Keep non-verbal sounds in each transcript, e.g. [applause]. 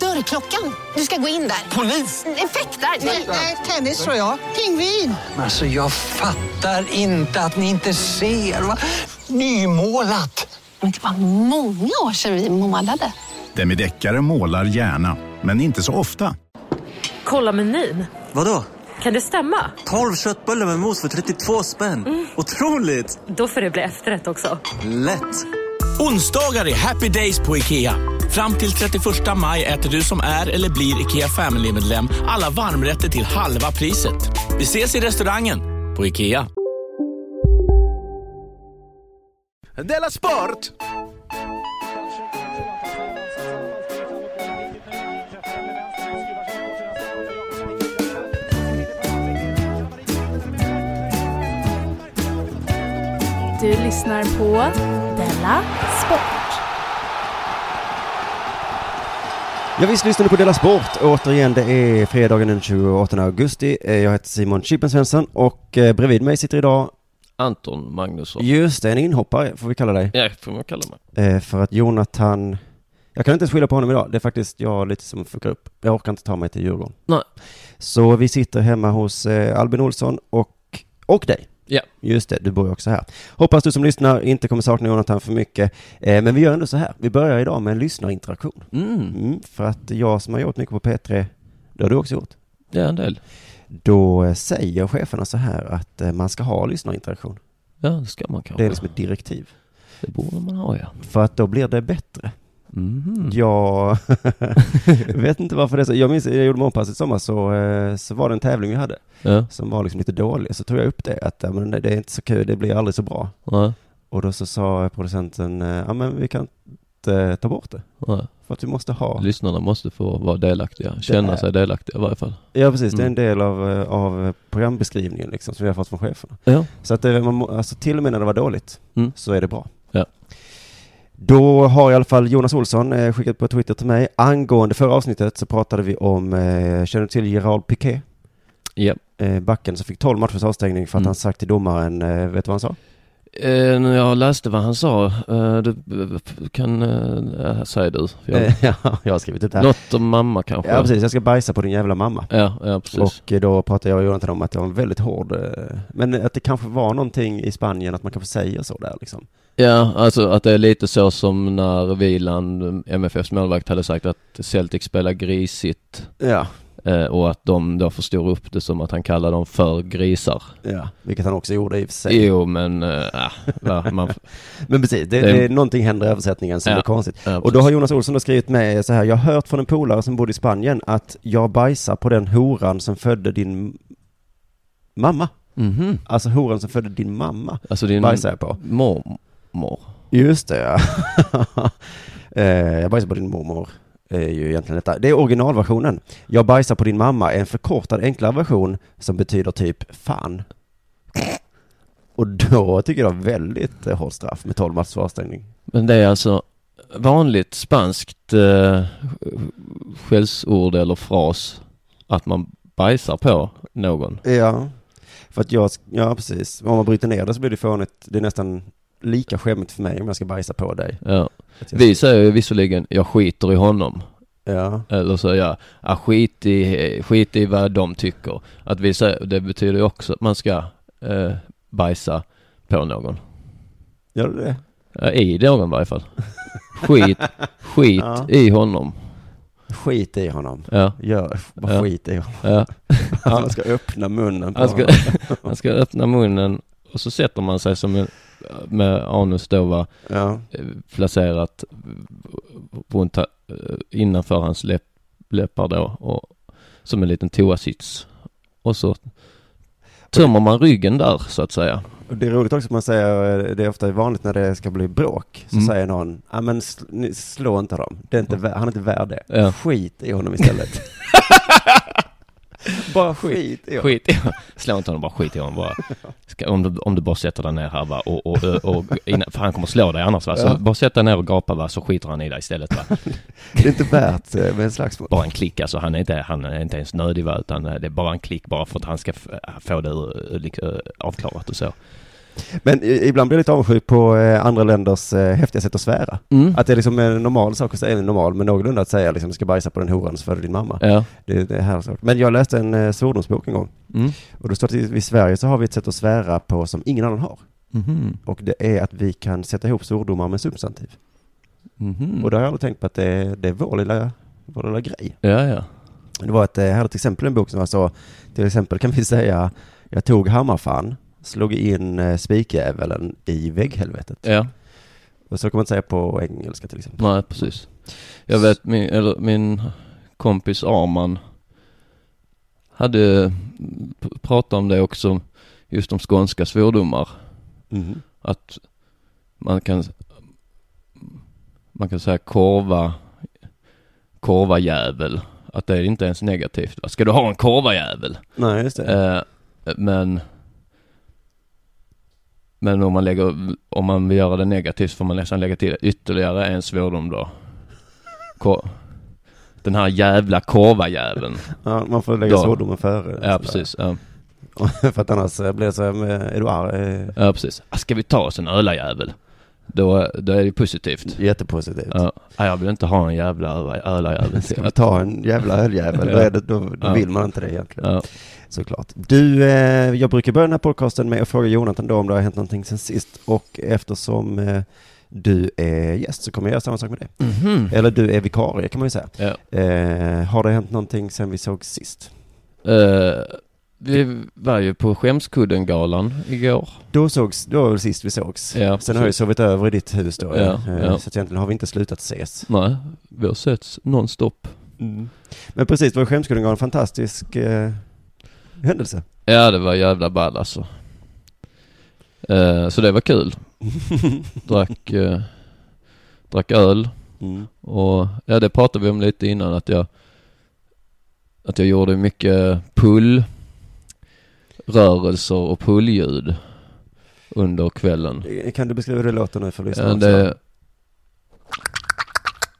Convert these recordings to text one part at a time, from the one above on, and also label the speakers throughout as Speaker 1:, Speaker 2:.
Speaker 1: Dörrklockan. Du ska gå in där. Polis? Effektar? Nej, tennis tror jag. Pingvin.
Speaker 2: Alltså jag fattar inte att ni inte ser. Va? Nymålat!
Speaker 3: Men det var många år sedan vi målade.
Speaker 4: Demideckare målar gärna, men inte så ofta.
Speaker 5: Kolla menyn.
Speaker 6: Vadå?
Speaker 5: Kan det stämma?
Speaker 6: 12 köttbullar med mos för 32 spänn.
Speaker 7: Mm.
Speaker 6: Otroligt!
Speaker 5: Då får det bli efterrätt också.
Speaker 6: Lätt!
Speaker 7: Onsdagar är happy days på IKEA. Fram till 31 maj äter du som är eller blir IKEA Family-medlem alla varmrätter till halva priset. Vi ses i restaurangen på IKEA.
Speaker 8: Della Sport!
Speaker 9: Du lyssnar på Della Sport.
Speaker 10: Ja visst lyssnar ni på Della Sport. Återigen, det är fredagen den 28 augusti. Eh, Jag heter Simon Chippen Svensson och eh, bredvid mig sitter idag
Speaker 11: Anton Magnusson.
Speaker 10: Just det, en inhoppare får vi kalla dig.
Speaker 11: Ja, får man kalla mig.
Speaker 10: Eh, För att Jonathan, jag kan inte ens skylla på honom idag. Det är faktiskt jag lite som fuckar upp. Jag orkar inte ta mig till Djurgården.
Speaker 11: Nej.
Speaker 10: Så vi sitter hemma hos eh, Albin Olsson och, och dig.
Speaker 11: Ja.
Speaker 10: Just det, du bor ju också här. Hoppas du som lyssnar inte kommer sakna Jonathan för mycket. Eh, Men vi gör ändå så här. Vi börjar idag med en lyssnarinteraktion.
Speaker 11: Mm.
Speaker 10: Mm, för att jag som har gjort mycket på P3, det har du också gjort.
Speaker 11: Det är en del.
Speaker 10: Då eh, säger cheferna så här att eh, man ska ha lyssnarinteraktion.
Speaker 11: Ja, det ska man kanske.
Speaker 10: Det är liksom ett direktiv.
Speaker 11: Det borde man ha, ja.
Speaker 10: För att då blir det bättre.
Speaker 11: Mhm. [laughs]
Speaker 10: Jag vet inte varfor det är så. Jag minns, när jag gjorde morgonpasset i sommar så, eh, så var det en tävling vi hade
Speaker 11: Ja.
Speaker 10: som var liksom lite dålig. Så tog jag upp det, att ja, men det det är inte så kul, det blir aldrig så bra.
Speaker 11: Nej.
Speaker 10: Och då så sa producenten, eh, ja men vi kan inte eh, ta bort det.
Speaker 11: Nej.
Speaker 10: För att vi måste ha.
Speaker 11: Lyssnarna måste få vara delaktiga. Känna
Speaker 10: är-
Speaker 11: sig delaktiga i varje fall.
Speaker 10: Ja precis, det är
Speaker 11: Mm.
Speaker 10: en del av, eh, av programbeskrivningen liksom, som vi har fått från cheferna.
Speaker 11: Ja.
Speaker 10: Så att det, man, må- alltså till och med när det var dåligt
Speaker 11: Mm.
Speaker 10: så är det bra.
Speaker 11: Ja.
Speaker 10: Då har i alla fall Jonas Olsson eh, skickat på Twitter till mig. Angående förra avsnittet så pratade vi om, eh, känner du till Gerald Piqué?
Speaker 11: Ja.
Speaker 10: Eh, backen som fick 12 matchers avstängning för att
Speaker 11: Mm.
Speaker 10: han sagt till domaren, eh, vet du vad han sa?
Speaker 11: Eh, när jag läste vad han sa, eh, du, kan, eh, säg du. För Jag,
Speaker 10: Eh, [laughs] ja, jag har skrivit upp det här.
Speaker 11: Något om mamma kanske?
Speaker 10: Ja precis, jag ska bajsa på din jävla mamma.
Speaker 11: Ja, ja, precis.
Speaker 10: Och eh, då pratade jag och Jonathan om att det var en väldigt hård, eh, men att det kanske var någonting i Spanien att man kanske säger så där liksom.
Speaker 11: Ja, alltså att det är lite så som när Wieland, MFFs målvakt, hade sagt att Celtic spelar grisigt
Speaker 10: Ja,
Speaker 11: eh, och att de då förstår upp det som att han kallar dem för grisar.
Speaker 10: ja. Vilket han också gjorde i och för sig.
Speaker 11: Jo, men eh, ah, va, man,
Speaker 10: [laughs] Men precis, det,
Speaker 11: Det-
Speaker 10: det, är någonting händer i översättningen som
Speaker 11: Ja.
Speaker 10: är konstigt.
Speaker 11: ja,
Speaker 10: Och då har Jonas Olsson då skrivit med så här, jag har hört från en polare som bodde i Spanien att jag bajsar på den horan som födde din mamma.
Speaker 11: Mhm.
Speaker 10: Alltså horan som födde din mamma
Speaker 11: Alltså din
Speaker 10: bajsar jag på.
Speaker 11: mormor.
Speaker 10: Just det, ja. [laughs] Eh, jag bajsar på din mormor. Är ju egentligen detta. Det är originalversionen. Jag bajsar på din mamma är en förkortad enklare version som betyder typ fan. Och då tycker jag väldigt eh, hårt straff med 12 matchers avstängning.
Speaker 11: Men det är alltså vanligt spanskt eh, skällsord eller fras att man bajsar på någon.
Speaker 10: Ja, för att jag, ja precis. Om man bryter ner det så blir det fånigt. Det är nästan lika skämmigt för mig om jag ska bajsa på dig.
Speaker 11: Ja.
Speaker 10: Att jag-
Speaker 11: Vi säger ju visserligen, jag skiter i honom.
Speaker 10: Ja,
Speaker 11: Eller så ja, ah, skit, i, skit i vad de tycker. Att vi säger, det betyder ju också att man ska eh, bajsa på någon.
Speaker 10: gör du det?
Speaker 11: Ja, I någon i varje fall. Skit, skit
Speaker 10: [laughs] Ja.
Speaker 11: i honom.
Speaker 10: Skit i honom.
Speaker 11: Ja,
Speaker 10: Gör, bara
Speaker 11: Ja.
Speaker 10: skit i honom.
Speaker 11: ja.
Speaker 10: Han ska öppna munnen på
Speaker 11: Han ska,
Speaker 10: honom.
Speaker 11: [laughs] han ska öppna munnen och så sätter man sig som en, med anus då va,
Speaker 10: Ja,
Speaker 11: eh, placerat runt, ha- eh, innanför hans läpp, läppar då och som en liten toasits. Och så tömmer man ryggen där så att säga.
Speaker 10: och det är roligt också att man säger, eh, det är ofta vanligt när det ska bli bråk, så
Speaker 11: Mm.
Speaker 10: säger någon, ja men sl- ni- slå inte dem, det är inte vä- han är inte värd det.
Speaker 11: Ja.
Speaker 10: Skit i honom istället. Bara skit i honom.
Speaker 11: Skit i honom. Slå inte honom, bara skit i honom. Bara, ska, om, du, om du bara sätter dig ner här va, och, och, och, och innan, för han kommer slå dig annars va. Så
Speaker 10: Ja.
Speaker 11: bara sätt dig ner och gapa va, så skiter han i dig istället va.
Speaker 10: Det är inte värt eh, med en slagsmål.
Speaker 11: Bara en klick alltså, han är inte, han är inte ens nödig va, utan eh, det är bara en klick bara för att han ska f- få det ur- ur- lik- ur- avklarat och så.
Speaker 10: Men i- ibland blir jag lite avundsjuk på eh, andra länders eh, häftiga sätt att svära.
Speaker 11: Mm.
Speaker 10: Att det är liksom en normal sak att säga, eller normal, men någorlunda att säga liksom, ska bajsa på den horan så föder din mamma.
Speaker 11: Ja.
Speaker 10: Det, det är här sak. Men jag läste en eh, svordomsbok en gång.
Speaker 11: Mm.
Speaker 10: Och då står det att i- i Sverige så har vi ett sätt att svära på som ingen annan har.
Speaker 11: Mhm.
Speaker 10: Och det är att vi kan sätta ihop svordomar med substantiv.
Speaker 11: Mhm.
Speaker 10: Och då har jag aldrig tänkt på att det är, det är vår, lilla, vår lilla grej.
Speaker 11: Ja, ja.
Speaker 10: Det var ett, eh, jag hade till exempel en bok som var så, till exempel kan vi säga, jag tog hammarfan, slog in eh, spikjävelen i vägghelvetet.
Speaker 11: Ja.
Speaker 10: Och så kan man inte säga på engelska till exempel.
Speaker 11: Nej, precis. Jag vet, min, eller min kompis Arman hade p- pratat om det också, just om skånska svordomar.
Speaker 10: Mhm.
Speaker 11: Att man kan, man kan säga korva, korvajävel. Att det är inte ens negativt. va? Ska du ha en korvajävel?
Speaker 10: Nej, just det.
Speaker 11: Eh, men men om man, lägger, om man vill göra det negativt får man nästan lägga till ytterligare en svordom då. Ko- den här jävla korvajäveln.
Speaker 10: Ja, man får lägga
Speaker 11: Då.
Speaker 10: svordomen före.
Speaker 11: Ja, precis. Ja.
Speaker 10: [laughs] För att annars eh, blir det så här med Edouard. eh,
Speaker 11: ja, precis. Ah, Ska vi ta oss en ölajävel? Då, då är det positivt.
Speaker 10: Jättepositivt.
Speaker 11: Ja. Ah, Jag vill inte ha en jävla öla- ölajävel.
Speaker 10: Ska vi ta en jävla öljävel? Då, är det, då, då
Speaker 11: Ja.
Speaker 10: vill man inte det egentligen.
Speaker 11: Ja.
Speaker 10: Såklart. Du, eh, jag brukar börja den här podcasten med att fråga Jonathan då om det har hänt någonting sen sist. Och eftersom eh, du är gäst så kommer jag göra samma sak med dig.
Speaker 11: Mhm.
Speaker 10: Eller du är vikarie kan man ju säga.
Speaker 11: Ja.
Speaker 10: Eh, har det hänt någonting sen vi såg sist?
Speaker 11: Eh, vi var ju på Skämskudden-galan igår.
Speaker 10: Då sågs, då var väl sist vi sågs.
Speaker 11: Ja,
Speaker 10: sen har jag ju
Speaker 11: precis.
Speaker 10: sovit över i ditt hus då.
Speaker 11: Ja,
Speaker 10: eh,
Speaker 11: ja.
Speaker 10: Så att egentligen har vi inte slutat ses. Mm.
Speaker 11: Nej, vi har setts nonstop.
Speaker 10: Men precis, det var Skämskudden var en fantastisk eh, händelse.
Speaker 11: Ja, det var jävla ball alltså. Eh, så det var kul.
Speaker 10: [laughs]
Speaker 11: drack, eh, drack öl.
Speaker 10: Mm.
Speaker 11: Och ja, det pratade vi om lite innan att jag, att jag gjorde mycket pull rörelser och pullljud under kvällen.
Speaker 10: Kan du beskriva hur det låter nu för
Speaker 11: Ja,
Speaker 10: lyssnarna?
Speaker 11: det,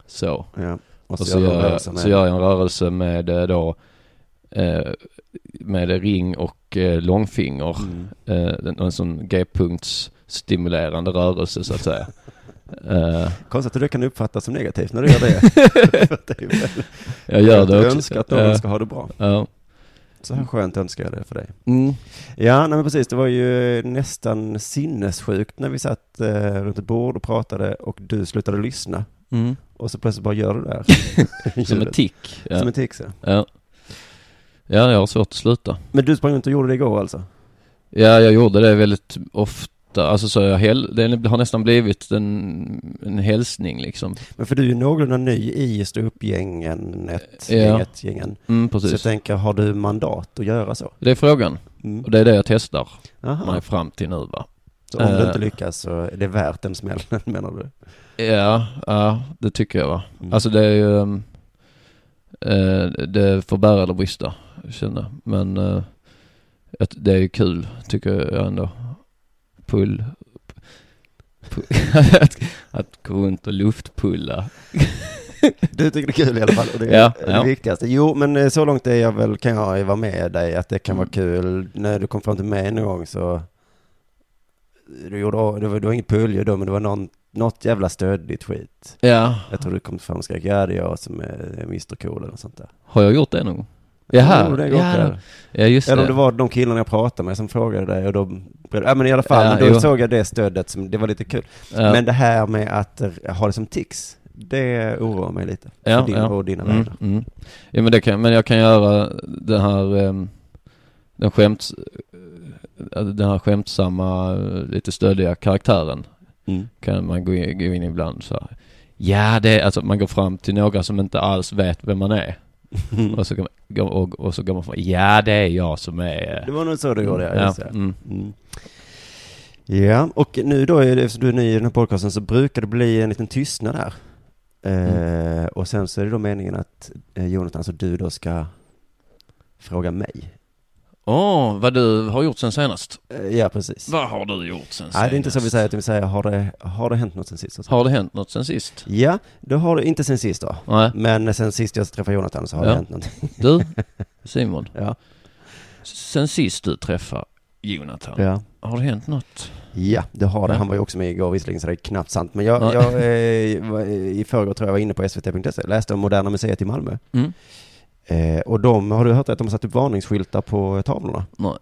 Speaker 11: så.
Speaker 10: Ja.
Speaker 11: Och så,
Speaker 10: jag en
Speaker 11: gör, jag,
Speaker 10: rörelse med-
Speaker 11: så gör jag en rörelse med eh, då eh, med ring och eh, långfinger. Eh,
Speaker 10: Mm.
Speaker 11: en, en sån g-punktsstimulerande rörelse så att
Speaker 10: [laughs]
Speaker 11: säga. eh,
Speaker 10: Konstigt att det kan uppfattas som negativt när du
Speaker 11: [laughs]
Speaker 10: gör det. det är ju väl-
Speaker 11: jag gör
Speaker 10: att
Speaker 11: det
Speaker 10: du
Speaker 11: också.
Speaker 10: önskar att någon
Speaker 11: Ja.
Speaker 10: ska ha det bra.
Speaker 11: Ja.
Speaker 10: Så här skönt önskar jag det för dig.
Speaker 11: Mm.
Speaker 10: Ja, nej, men precis. Det var ju nästan sinnessjukt när vi satt eh, runt ett bord och pratade och du slutade lyssna.
Speaker 11: Mm.
Speaker 10: Och så plötsligt bara gör du det här.
Speaker 11: [laughs] Som en
Speaker 10: Ljudet.
Speaker 11: tick. Ja.
Speaker 10: Som en tick, så.
Speaker 11: Ja. ja, jag har svårt att sluta.
Speaker 10: Men du sprang runt och gjorde det igår alltså?
Speaker 11: Ja, jag gjorde det väldigt ofta. Alltså så jag hel- det har nästan blivit en, en hälsning liksom.
Speaker 10: Men för du är ju någorlunda ny i ståuppgängen, ett,
Speaker 11: Ja.
Speaker 10: gänget, gängen.
Speaker 11: Mm, precis.
Speaker 10: Så jag tänker, har du mandat att göra så?
Speaker 11: Det är frågan.
Speaker 10: Mm.
Speaker 11: Och det är det jag testar
Speaker 10: Aha.
Speaker 11: mig fram till nu va.
Speaker 10: Så om du
Speaker 11: Eh,
Speaker 10: inte lyckas så är det värt den smällen, [laughs] menar du?
Speaker 11: Ja, ja det tycker jag va.
Speaker 10: Mm.
Speaker 11: Alltså det är ju... ehm, eh, det får bära eller brista, känner jag. Men eh, att det är ju kul, tycker jag ändå. Pull...
Speaker 10: [laughs]
Speaker 11: pu- [laughs] att, att gå runt och luftpulla.
Speaker 10: Du tycker det är kul i alla fall, och det är
Speaker 11: Ja,
Speaker 10: det
Speaker 11: ja.
Speaker 10: viktigaste. Jo, men eh, så långt är jag väl, kan jag vara med dig, att det kan
Speaker 11: Mm.
Speaker 10: vara kul. När du kom fram till mig någon gång så, du gjorde, det var, det var inget puljud då, men det var någon, något jävla stöddigt skit.
Speaker 11: Ja,
Speaker 10: Jag tror du kom fram och skrek, ja det är jag som är Mr Cool eller något sånt där.
Speaker 11: har jag gjort det någon gång?
Speaker 10: Jo,
Speaker 11: Jaha,
Speaker 10: det är gott,
Speaker 11: ja,
Speaker 10: ja.
Speaker 11: ja just
Speaker 10: Eller om det
Speaker 11: det.
Speaker 10: var de killarna jag pratade med som frågade dig och då... Ja men i alla fall,
Speaker 11: Ja,
Speaker 10: men då
Speaker 11: jo.
Speaker 10: såg jag det stödet som, det var lite kul.
Speaker 11: Ja.
Speaker 10: Men det här med att eh, ha det som tics, det oroar mig lite.
Speaker 11: Ja,
Speaker 10: för din
Speaker 11: ja.
Speaker 10: och dina
Speaker 11: Mm,
Speaker 10: vänner.
Speaker 11: mm. Ja, men, det kan, men jag kan göra den här, ehm, den, skämts, eh, den här skämtsamma, eh, lite stöddiga karaktären.
Speaker 10: Mm.
Speaker 11: Kan man gå in, gå in ibland så här. Ja, det är, alltså man går fram till några som inte alls vet vem man
Speaker 10: [laughs]
Speaker 11: är. Och så går man, går- och, och så går man fram, ja det är jag som är... eh."
Speaker 10: Det var nog så du gjorde, ja.
Speaker 11: Ja,
Speaker 10: just det.
Speaker 11: mm.
Speaker 10: Mm. Ja, och nu då, är det- eftersom du är ny i den här podcasten, så brukar det bli en liten tystnad här.
Speaker 11: Mm.
Speaker 10: Eh, och sen så är det då meningen att eh, Jonathan, alltså du då ska Fråga mig. Eh,
Speaker 11: Åh, vad du har gjort sen senast.
Speaker 10: Ja, precis.
Speaker 11: Vad har du gjort sen senast?
Speaker 10: Nej, det är inte så vi säger, utan vi säger har det, har det hänt något sen sist? Och så.
Speaker 11: Har det hänt något sen sist?
Speaker 10: Ja, det har det inte sen sist då.
Speaker 11: Nej.
Speaker 10: Men sen sist jag träffade Jonathan så har
Speaker 11: Ja.
Speaker 10: det hänt någonting.
Speaker 11: [laughs] Du,
Speaker 10: [laughs]
Speaker 11: Simon.
Speaker 10: Ja.
Speaker 11: Sen sist du träffade Jonathan,
Speaker 10: Ja.
Speaker 11: har det hänt något?
Speaker 10: Ja, det har det.
Speaker 11: Ja.
Speaker 10: Han var ju också med igår visserligen så det är knappt sant. Men jag,
Speaker 11: Ja.
Speaker 10: jag eh, var- i förrgår tror jag var inne på svt.se, E. läste om Moderna Museet i Malmö.
Speaker 11: Mm.
Speaker 10: Eh, och de, har du hört att de har satt upp varningsskyltar på tavlorna?
Speaker 11: Nej.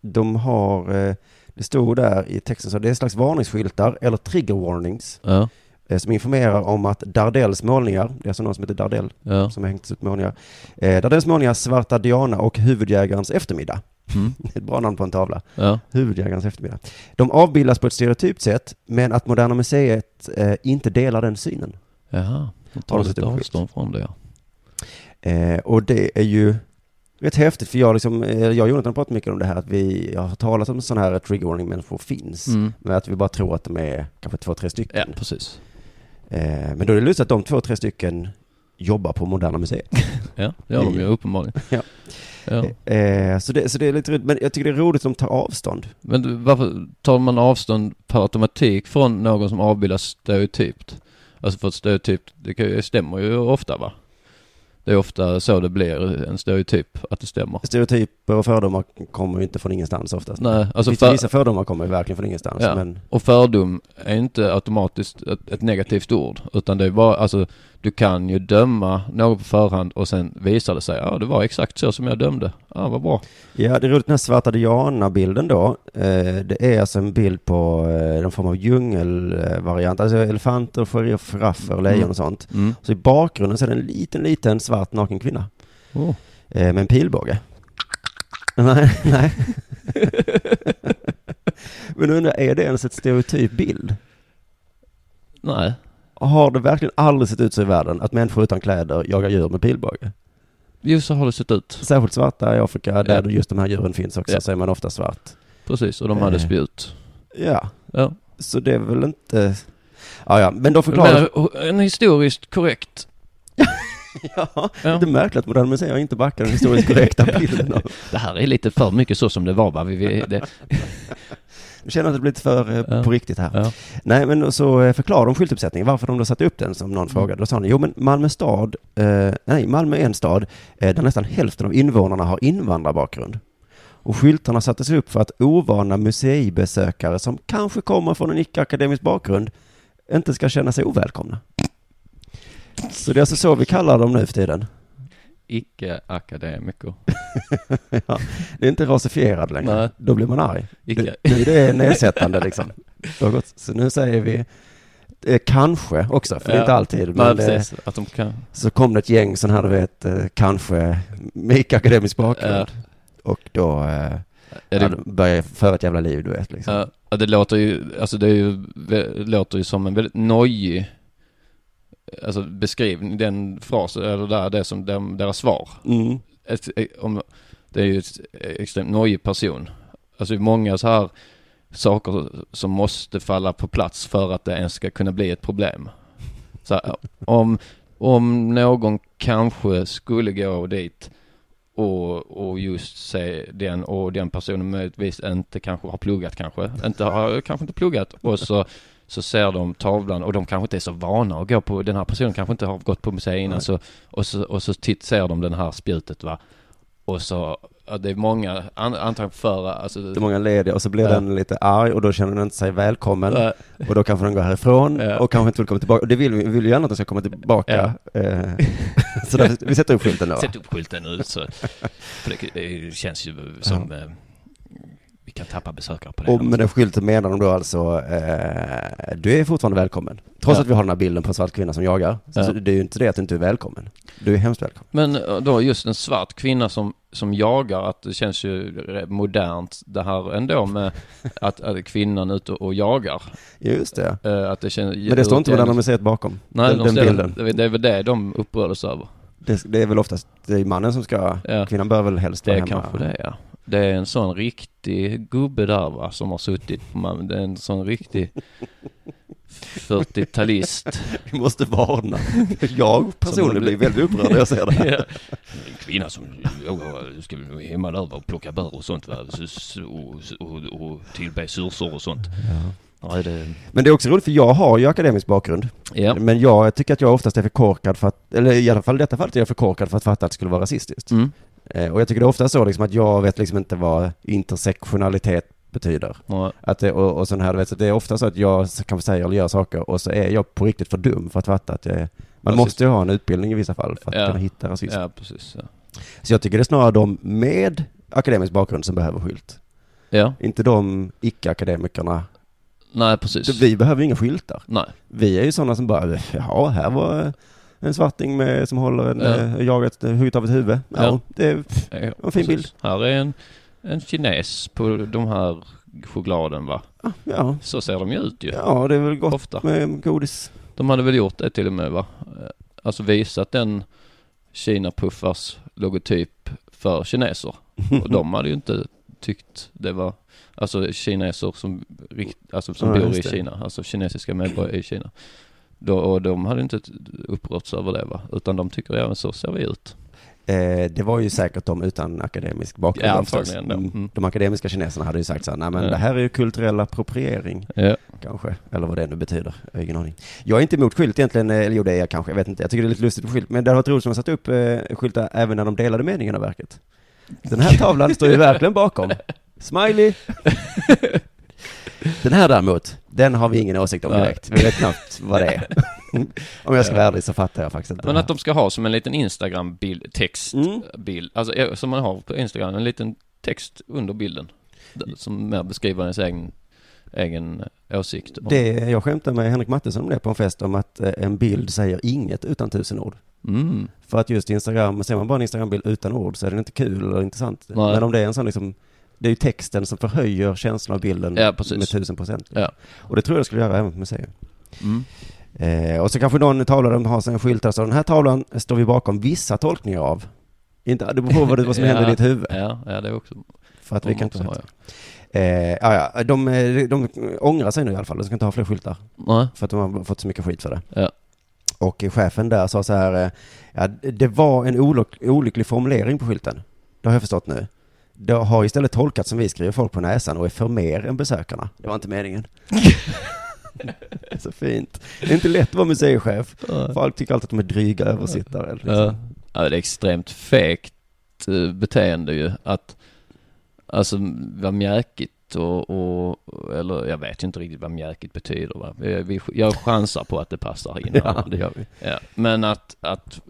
Speaker 10: De har, eh, det stod där i texten så det är en slags varningsskyltar eller trigger warnings.
Speaker 11: Ja.
Speaker 10: eh, Som informerar om att Dardells målningar, det är alltså någon som heter Dardell
Speaker 11: Ja.
Speaker 10: som har hängt ut målningar. Eh, Dardells målningar Svarta Diana och Huvudjägarens eftermiddag. [laughs]
Speaker 11: Mm.
Speaker 10: Ett bra namn på en tavla.
Speaker 11: Ja.
Speaker 10: Huvudjägarens eftermiddag. De avbildas på ett stereotypt sätt, men att Moderna Museet eh, inte delar den synen.
Speaker 11: Jaha, de tar
Speaker 10: Har de
Speaker 11: lite
Speaker 10: sett upp
Speaker 11: avstånd från det ja.
Speaker 10: Eh, och det är ju rätt häftigt, för jag, liksom, eh, jag och Jonathan har pratat mycket om det här, att vi har talat om sådana här trigger warning människor finns,
Speaker 11: Mm.
Speaker 10: men att vi bara tror att de är kanske två, tre
Speaker 11: Ja,
Speaker 10: stycken.
Speaker 11: precis.
Speaker 10: Eh, men då är det lustigt att de två, tre stycken jobbar på Moderna Museet.
Speaker 11: [laughs] Ja, det gör de
Speaker 10: I-
Speaker 11: ju uppenbarligen.
Speaker 10: [laughs] Ja.
Speaker 11: Ja.
Speaker 10: Eh, så, det, så det är lite roligt, men jag tycker det är roligt att de tar avstånd.
Speaker 11: Men du, varför tar man avstånd per automatik från någon som avbildas stereotypt? Alltså för att stereotypt, det kan ju- stämmer ju ofta va? Det är ofta så det blir en stereotyp, att det stämmer.
Speaker 10: Stereotyper och fördomar kommer ju inte från ingenstans oftast.
Speaker 11: Nej, alltså
Speaker 10: Vissa-
Speaker 11: för-
Speaker 10: Vissa fördomar kommer ju verkligen från ingenstans,
Speaker 11: Ja.
Speaker 10: men
Speaker 11: Och fördom är inte automatiskt ett, ett negativt ord. Utan det är bara, alltså du kan ju döma något på förhand och sen visar det sig, ja det var exakt så som jag dömde. Ja, vad bra.
Speaker 10: Ja, det är roligt den här svarta diana-bilden då. Eh, Det är alltså en bild på eh, någon form av djungelvariant, alltså elefanter, giraffer, lejon
Speaker 11: Mm.
Speaker 10: och sånt.
Speaker 11: Mm.
Speaker 10: Så i bakgrunden så är det en liten, liten svart naken kvinna
Speaker 11: Oh.
Speaker 10: eh, med en pilbåge. [laughs] Nej, nej. [laughs] Men undrar, är det ens ett stereotyp bild?
Speaker 11: Nej.
Speaker 10: Har det verkligen aldrig sett ut så i världen att människor utan kläder jagar djur med pilbåge?
Speaker 11: Just så har det sett ut.
Speaker 10: Särskilt svarta i Afrika, där
Speaker 11: Ja.
Speaker 10: just de här djuren finns också,
Speaker 11: Ja.
Speaker 10: så är man ofta svart.
Speaker 11: Precis, och de hade
Speaker 10: Eh.
Speaker 11: spjut.
Speaker 10: Ja.
Speaker 11: Ja.
Speaker 10: Så det är väl inte... Ja, ja. men de
Speaker 11: Jag
Speaker 10: förklarar...
Speaker 11: menar, En historiskt korrekt.
Speaker 10: [laughs] Ja, lite märkligt att Moderna Museet inte backar den historiskt korrekta
Speaker 11: [laughs]
Speaker 10: bilden av...
Speaker 11: Det här är lite för mycket så som det var va? Vi, vi,
Speaker 10: [laughs]
Speaker 11: det,
Speaker 10: Jag känner att det blir lite för eh,
Speaker 11: Ja.
Speaker 10: på riktigt här.
Speaker 11: ja.
Speaker 10: Nej, men så eh, förklarar de skyltuppsättningen, varför de då satte upp den som någon frågade. Då sa han, jo men Malmö stad, eh, nej Malmö är en stad eh, där nästan hälften av invånarna har invandrarbakgrund. Och skyltarna sattes upp för att ovana museibesökare som kanske kommer från en icke-akademisk bakgrund inte ska känna sig ovälkomna. Så det är alltså så vi kallar dem nu för tiden.
Speaker 11: Icke-akademiker.
Speaker 10: ja, det är inte rasifierad längre.
Speaker 11: Nej.
Speaker 10: Då blir man arg.
Speaker 11: Icke.
Speaker 10: Det, nu
Speaker 11: [laughs]
Speaker 10: är det nedsättande liksom. Det har gått- Så nu säger vi eh, kanske också, för det är inte alltid.
Speaker 11: Nej,
Speaker 10: Men, eh,
Speaker 11: precis. Att de kan.
Speaker 10: så kom det ett gäng sån här, du vet, eh, kanske med icke-akademisk bakgrund.
Speaker 11: Ja.
Speaker 10: Och då eh,
Speaker 11: Är
Speaker 10: ja,
Speaker 11: det,
Speaker 10: de började föra ett jävla liv, du vet. Liksom.
Speaker 11: ja, ja, det låter ju, alltså det, är ju, det låter ju som en väldigt nojig Alltså beskrivning, den frasen, eller där, det som de, deras svar.
Speaker 10: Mm.
Speaker 11: Ett, om, det är ju ett extremt nojig person. Alltså det är många så här saker som måste falla på plats för att det ens ska kunna bli ett problem. Så här, om, om någon kanske skulle gå dit och, och just se den och den personen möjligtvis inte kanske har pluggat kanske, inte har kanske inte pluggat och så så ser de tavlan och de kanske inte är så vana att gå på, den här personen kanske inte har gått på museet innan
Speaker 10: Nej.
Speaker 11: så, och så, och så titt, ser de den här spjutet va. Och så, ja, det är många, an, antagligen före, alltså.
Speaker 10: Det är många lediga och så blir
Speaker 11: Ja.
Speaker 10: den lite arg och då känner den inte sig välkommen.
Speaker 11: Nej.
Speaker 10: Och då kanske den går härifrån
Speaker 11: Ja.
Speaker 10: och kanske inte vill komma tillbaka. Och det vill vi, vi vill ju gärna att den ska komma tillbaka. Eh, [laughs] så där, vi sätter upp skylten då. va?
Speaker 11: Sätt upp skylten nu så. För det, det känns ju som eh, vi kan tappa besökare på det.
Speaker 10: Och med den skylten menar de då alltså, eh, du är fortfarande välkommen. Trots
Speaker 11: Ja.
Speaker 10: att vi har den här bilden på en svart kvinna som jagar, så
Speaker 11: Ja.
Speaker 10: det är ju inte det att du inte är välkommen. Du är hemskt välkommen.
Speaker 11: Men eh, då just en svart kvinna som, som jagar, att det känns ju re- modernt det här ändå
Speaker 10: [laughs]
Speaker 11: med att, att kvinnan är ute och jagar.
Speaker 10: Just det.
Speaker 11: Eh, Att det känns,
Speaker 10: Men det står inte Moderna Museet bakom,
Speaker 11: Nej,
Speaker 10: den,
Speaker 11: de
Speaker 10: den
Speaker 11: ställer-
Speaker 10: bilden.
Speaker 11: det är- Det är väl det de upprördes över.
Speaker 10: Det, det är väl oftast, det är mannen som ska,
Speaker 11: Ja.
Speaker 10: kvinnan bör väl helst
Speaker 11: Det
Speaker 10: vara
Speaker 11: är
Speaker 10: hemma.
Speaker 11: kanske det ja. Det är en sån riktig gubbe där va, som har suttit på man, Det är en sån riktig 40-talist.
Speaker 10: [laughs] Vi måste varna. Jag personligen blir väldigt upprörd när jag ser det [laughs] här.
Speaker 11: Ja. En kvinna som oh, ska vara hemma där och plocka bär och sånt va? S- Och, och, och tillbe sursor och sånt. Nej, det...
Speaker 10: Men det är också roligt för jag har ju akademisk bakgrund.
Speaker 11: Ja.
Speaker 10: Men jag tycker att jag oftast är för korkad för att, eller i alla fall i detta fallet är jag för korkad för att fatta att det skulle vara rasistiskt.
Speaker 11: Mm.
Speaker 10: Eh, Och jag tycker det är ofta så liksom att jag vet liksom inte vad intersektionalitet betyder.
Speaker 11: Nej.
Speaker 10: Att det, och, och sån här, du vet, så det är ofta så att jag kanske säger eller gör saker och så är jag på riktigt för dum för att fatta att jag är, man
Speaker 11: Rasist.
Speaker 10: måste ju ha en utbildning i vissa fall för att
Speaker 11: Ja.
Speaker 10: kunna hitta rasism.
Speaker 11: Ja, precis. Ja.
Speaker 10: Så jag tycker det är snarare de med akademisk bakgrund som behöver skylt.
Speaker 11: Ja.
Speaker 10: Inte de icke-akademikerna.
Speaker 11: Nej, precis.
Speaker 10: Så Vi behöver ju inga skyltar.
Speaker 11: Nej.
Speaker 10: Vi är ju sådana som bara, ja, här var en svarting med, som håller en,
Speaker 11: Ja.
Speaker 10: ja. jagat, eh, hugget av ett huvud. Ja,
Speaker 11: Ja.
Speaker 10: det är pff,
Speaker 11: Ja,
Speaker 10: en fin
Speaker 11: precis.
Speaker 10: bild.
Speaker 11: Här är en, en kines på de här chokladen va?
Speaker 10: Ah, ja.
Speaker 11: Så ser de ju ut ju.
Speaker 10: Ja, det är väl gott
Speaker 11: Ofta.
Speaker 10: med godis.
Speaker 11: De hade väl gjort det till och med va? Alltså visat den Kina Puffars logotyp för kineser. Och de hade ju inte tyckt det var, alltså kineser som, rikt- alltså, som
Speaker 10: Ja,
Speaker 11: bor i
Speaker 10: just det.
Speaker 11: Kina, alltså kinesiska medborgare i Kina. Då, och de hade inte upprörts över det va? Utan de tycker även så ser vi ut.
Speaker 10: Eh, det var ju säkert de utan akademisk bakgrund.
Speaker 11: Ja,
Speaker 10: de
Speaker 11: antagligen,
Speaker 10: förstås.
Speaker 11: ja. Mm.
Speaker 10: De akademiska kineserna hade ju sagt så här, nej men
Speaker 11: Ja.
Speaker 10: det här är ju kulturell appropriering.
Speaker 11: Ja.
Speaker 10: Kanske, eller vad det nu betyder. Jag har ingen aning. Jag är inte emot skylt egentligen, eh, eller jo det är jag kanske, jag vet inte. Jag tycker det är lite lustigt med skylt, men det hade varit roligt om de satt upp eh, skyltar även när de delade meningen av verket. Den här tavlan står ju verkligen bakom. Smiley! Den här däremot, den har vi ingen åsikt om
Speaker 11: Nej.
Speaker 10: direkt. Vi vet knappt vad det är. Om jag ska vara ärlig så fattar jag faktiskt inte. Mm.
Speaker 11: Men
Speaker 10: det
Speaker 11: att de ska ha som en liten Instagram-bild, textbild, alltså eh, som man har på Instagram, en liten text under bilden. d- Som mer beskriver ens egen, egen eh, åsikt. om-
Speaker 10: Det, jag skämtade med Henrik Mattisson om det på en fest, om att eh, en bild säger inget utan tusen ord.
Speaker 11: Mm.
Speaker 10: För att just Instagram, ser man bara en Instagram-bild utan ord så är den inte kul eller intressant.
Speaker 11: Nej.
Speaker 10: Men om det är en sån liksom, det är ju texten som förhöjer känslan av bilden
Speaker 11: Ja, precis.
Speaker 10: med tusen procent.
Speaker 11: Ja.
Speaker 10: Och det tror jag jag skulle göra även på museum.
Speaker 11: Mm.
Speaker 10: Eh, och så kanske någon tavla de har sina skyltar, så den här tavlan står vi bakom vissa tolkningar av. Inte, det beror på vad, det, vad som händer i
Speaker 11: Ja,
Speaker 10: ditt huvud.
Speaker 11: Ja, ja det är också.
Speaker 10: För att vi
Speaker 11: de
Speaker 10: kan inte
Speaker 11: också
Speaker 10: ha Eh, ja, ja, de, eh, de ångrar sig nu i alla fall, de ska inte ha fler skyltar.
Speaker 11: Nej.
Speaker 10: För att de har fått så mycket skit för det.
Speaker 11: Ja.
Speaker 10: Och eh, chefen där sa så här, eh, ja, det var en olyck, olycklig formulering på skylten. Det har jag förstått nu. Det har istället tolkats som vi skriver folk på näsan och är för mer än besökarna. Det var inte meningen. [laughs] så fint. Det är inte lätt att vara museichef.
Speaker 11: Nej.
Speaker 10: Folk tycker alltid att de är dryga översittare. Liksom.
Speaker 11: Ja. ja, det är extremt fegt eh, beteende ju att, alltså vad mjäkigt och, och, eller jag vet ju inte riktigt vad mjäkigt betyder va. Jag, vi- jag chansar på att det passar in. här.
Speaker 10: [laughs] Ja, det gör vi.
Speaker 11: Ja, men att, att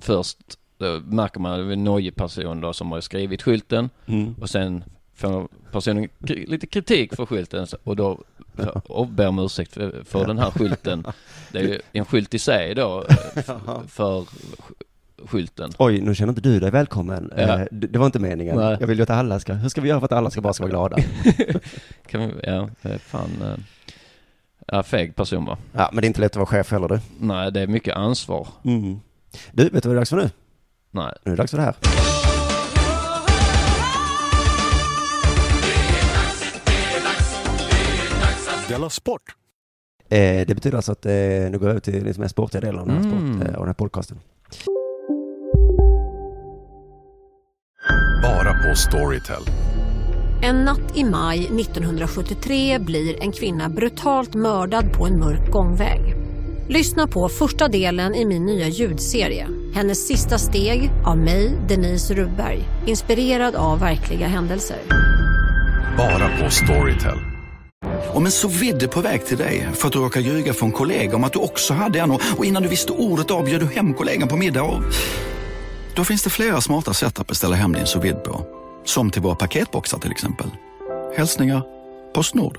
Speaker 11: först då märker man att det är en nojig person då som har skrivit skylten
Speaker 10: Mm.
Speaker 11: och sen får personen kri- lite kritik för skylten så- och då så- och ber om ursäkt för, för den här skylten. Det är
Speaker 10: [laughs]
Speaker 11: ju en skylt i sig då eh, f- för sk- skylten.
Speaker 10: Oj, nu känner inte du dig välkommen.
Speaker 11: Ja.
Speaker 10: Eh, Det det var inte meningen.
Speaker 11: Nej.
Speaker 10: Jag vill ju att alla ska, hur ska vi göra för att alla ska bara ska vara glada?
Speaker 11: [laughs] Kan vi, ja, det är fan. eh, Ja, feg person va?
Speaker 10: Ja, men det är inte lätt att vara chef heller du.
Speaker 11: Nej, det är mycket ansvar.
Speaker 10: Mm. Du, vet du vad det är dags för nu?
Speaker 11: Nej.
Speaker 10: Nu är det dags för det här.
Speaker 8: Della Sport!
Speaker 10: Eh, det betyder alltså att eh, nu går jag över till det som är sportiga delen av den här,
Speaker 11: Mm.
Speaker 10: sport, eh, av den här podcasten.
Speaker 12: Bara på Storytel.
Speaker 13: En natt i maj 1973 blir en kvinna brutalt mördad på en mörk gångväg. Lyssna på första delen i min nya ljudserie. Hennes sista steg av mig, Denise Rubberg. Inspirerad av verkliga händelser.
Speaker 12: Bara på Storytel.
Speaker 14: Om en så vidde på väg till dig för att du råkar ljuga från kollega om att du också hade en och och innan du visste ordet av bjöd du hem kollegan på middag och... Då finns det flera smarta sätt att beställa hem din sous vide på. Som till våra paketboxar till exempel. Hälsningar Postnord.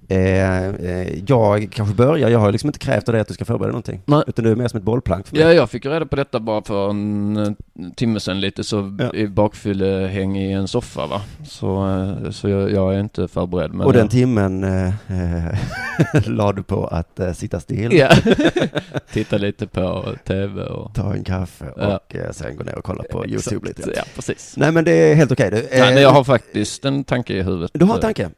Speaker 10: Eh, eh, jag kanske börjar, jag har liksom inte krävt av dig att du ska förbereda någonting. Utan du är mer som ett bollplank för mig.
Speaker 11: Ja, jag fick ju reda på detta bara för en eh, timme sedan lite så i bakfyllehäng i en soffa va. Så, eh, så jag, jag är inte förberedd. Men
Speaker 10: och den
Speaker 11: jag-
Speaker 10: timmen eh, [laughs] eh, la du på att eh, sitta still.
Speaker 11: Ja. [laughs] Titta lite på TV och...
Speaker 10: Ta en kaffe
Speaker 11: Ja.
Speaker 10: och eh, sen gå ner och kolla på
Speaker 11: Exakt.
Speaker 10: YouTube lite.
Speaker 11: Ja, precis.
Speaker 10: Nej men det är helt okej. du.
Speaker 11: Nej,
Speaker 10: Eh,
Speaker 11: men jag har faktiskt en tanke i huvudet.
Speaker 10: Du har en tanke?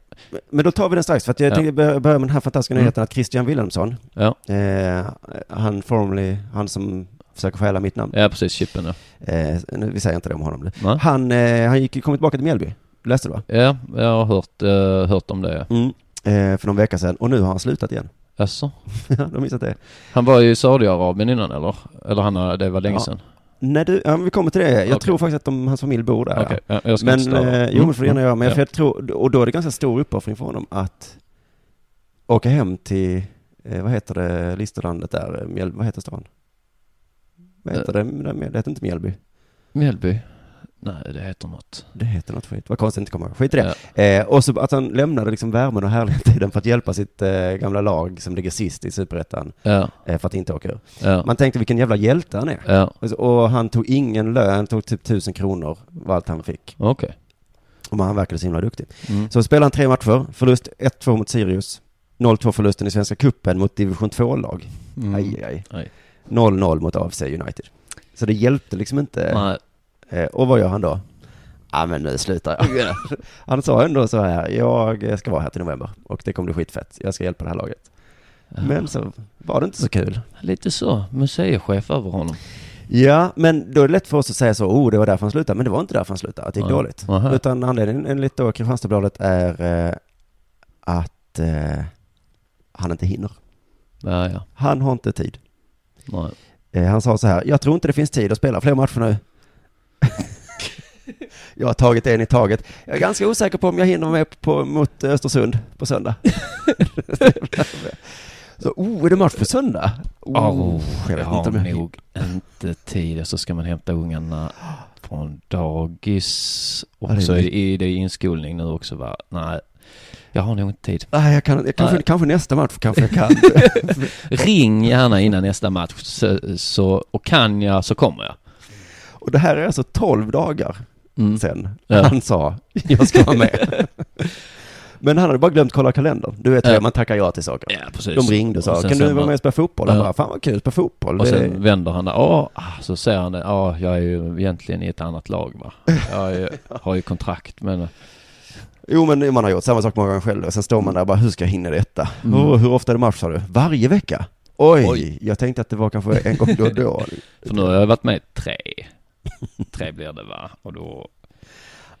Speaker 10: Men då tar vi den strax, för att jag
Speaker 11: Ja.
Speaker 10: tänkte börja börja med den här fantastiska
Speaker 11: Mm.
Speaker 10: nyheten att Christian Wilhelmsson,
Speaker 11: Ja.
Speaker 10: eh, han formerly, han som försöker stjäla mitt namn.
Speaker 11: Ja, precis. Chippen, ja.
Speaker 10: Eh, nu, vi säger inte det om honom nu.
Speaker 11: Nej.
Speaker 10: Han, eh, han gick, kom tillbaka till Mjällby, Du läste du va?
Speaker 11: Ja, jag har hört, eh, hört om det.
Speaker 10: Mm. Eh, för någon vecka sedan, och nu har han slutat igen.
Speaker 11: Jaså?
Speaker 10: [laughs] Ja, de har missat det.
Speaker 11: Han var ju i Saudiarabien innan eller? Eller han, har- det var länge
Speaker 10: Ja.
Speaker 11: sedan?
Speaker 10: Nej, du, ja, men vi kommer till det. Jag tror faktiskt att de, hans familj bor där.
Speaker 11: Okej, ja, jag ska
Speaker 10: men,
Speaker 11: inte störa.
Speaker 10: eh, jo,
Speaker 11: Mm,
Speaker 10: men får du gärna
Speaker 11: mm,
Speaker 10: göra. Men
Speaker 11: ja.
Speaker 10: för jag tror, och då är det ganska stor uppoffring för honom att åka hem till, eh, vad heter det, Listerlandet där, eh, Mjäl, vad heter stan? Vad heter det? Men Det heter inte Mjällby.
Speaker 11: Eh. Mjällby? Nej, det heter något.
Speaker 10: Det heter något skit. Vad konstigt att inte komma ihåg. Skit i det. Eh, och så att han lämnade liksom värmen och härligheten för att hjälpa sitt eh, gamla lag som ligger sist i superettan.
Speaker 11: Ja.
Speaker 10: Eh, för att inte åka ur.
Speaker 11: Ja.
Speaker 10: Man tänkte vilken jävla hjälte han är.
Speaker 11: Ja.
Speaker 10: Och, så, och han tog ingen lön, han tog typ tusen kronor var allt han fick.
Speaker 11: Okej.
Speaker 10: Och han verkade så himla duktig.
Speaker 11: Mm.
Speaker 10: Så spelade han tre matcher, förlust 1-2 mot Sirius, 0-2 förlusten i Svenska Cupen mot division 2-lag.
Speaker 11: Mm.
Speaker 10: Aj, aj,
Speaker 11: aj.
Speaker 10: 0-0 mot AFC United. Så det hjälpte liksom inte. Eh, Och vad gör han då? Ja men nu slutar
Speaker 11: [laughs]
Speaker 10: jag. han sa ändå så här, jag ska vara här till november och det kommer bli skitfett. Jag ska hjälpa det här laget. Men så var det inte så kul.
Speaker 11: Lite så, museichef över honom.
Speaker 10: Ja, men då är det lätt för oss att säga så, oh det var därför han slutade, men det var inte därför han slutade, att det gick
Speaker 11: Nej.
Speaker 10: dåligt.
Speaker 11: Aha.
Speaker 10: Utan anledningen enligt då Kristianstadsbladet är eh, att eh, han inte hinner.
Speaker 11: Ja, ja.
Speaker 10: Han har inte tid.
Speaker 11: Nej.
Speaker 10: Eh, han sa så här, jag tror inte det finns tid att spela fler
Speaker 11: [laughs]
Speaker 10: matcher nu. jag har tagit en i taget. Jag är ganska osäker på om jag hinner med på, mot Östersund på söndag. så, oh, är det match på söndag? Oh,
Speaker 11: Åh,
Speaker 10: jag
Speaker 11: oh, jag,
Speaker 10: vet
Speaker 11: har
Speaker 10: inte om jag-
Speaker 11: nog inte tid. Och Så ska man hämta ungarna från dagis. Och
Speaker 10: Ja, det är
Speaker 11: så är
Speaker 10: mycket.
Speaker 11: det, är det inskolning nu också va? Nej, jag har nog inte tid.
Speaker 10: Nej, jag kan, jag kanske,
Speaker 11: Nej.
Speaker 10: kanske nästa match kanske jag kan.
Speaker 11: [laughs] Ring gärna innan nästa match. Så, så, och kan jag så kommer jag.
Speaker 10: Och det här är alltså 12 dagar sen
Speaker 11: Mm. Ja.
Speaker 10: han sa jag ska
Speaker 11: [laughs]
Speaker 10: vara med. Men han hade bara glömt kolla kalendern. Du vet hur
Speaker 11: Ja.
Speaker 10: man tackar ja till saker.
Speaker 11: Ja, precis.
Speaker 10: De ringde och
Speaker 11: Och
Speaker 10: sa,
Speaker 11: sen
Speaker 10: kan
Speaker 11: sen
Speaker 10: du vara
Speaker 11: man-
Speaker 10: med och spela fotboll? Han
Speaker 11: Ja.
Speaker 10: bara, fan vad kul, spela fotboll.
Speaker 11: Och
Speaker 10: Det-
Speaker 11: sen vänder han där. Ja, ah, så säger han det. Ja, ah, jag är ju egentligen i ett annat lag va. Jag
Speaker 10: [laughs]
Speaker 11: är, ju- har ju kontrakt men...
Speaker 10: Jo men man har gjort samma sak många gånger själv. Och sen står man där och bara, hur ska jag hinna detta?
Speaker 11: Mm.
Speaker 10: Åh, hur ofta är det match sa du? Varje vecka? Oj,
Speaker 11: Oj.
Speaker 10: jag tänkte att det var kanske en gång då och då.
Speaker 11: [laughs] För nu har jag varit med i tre. Tre blir det va? Och då...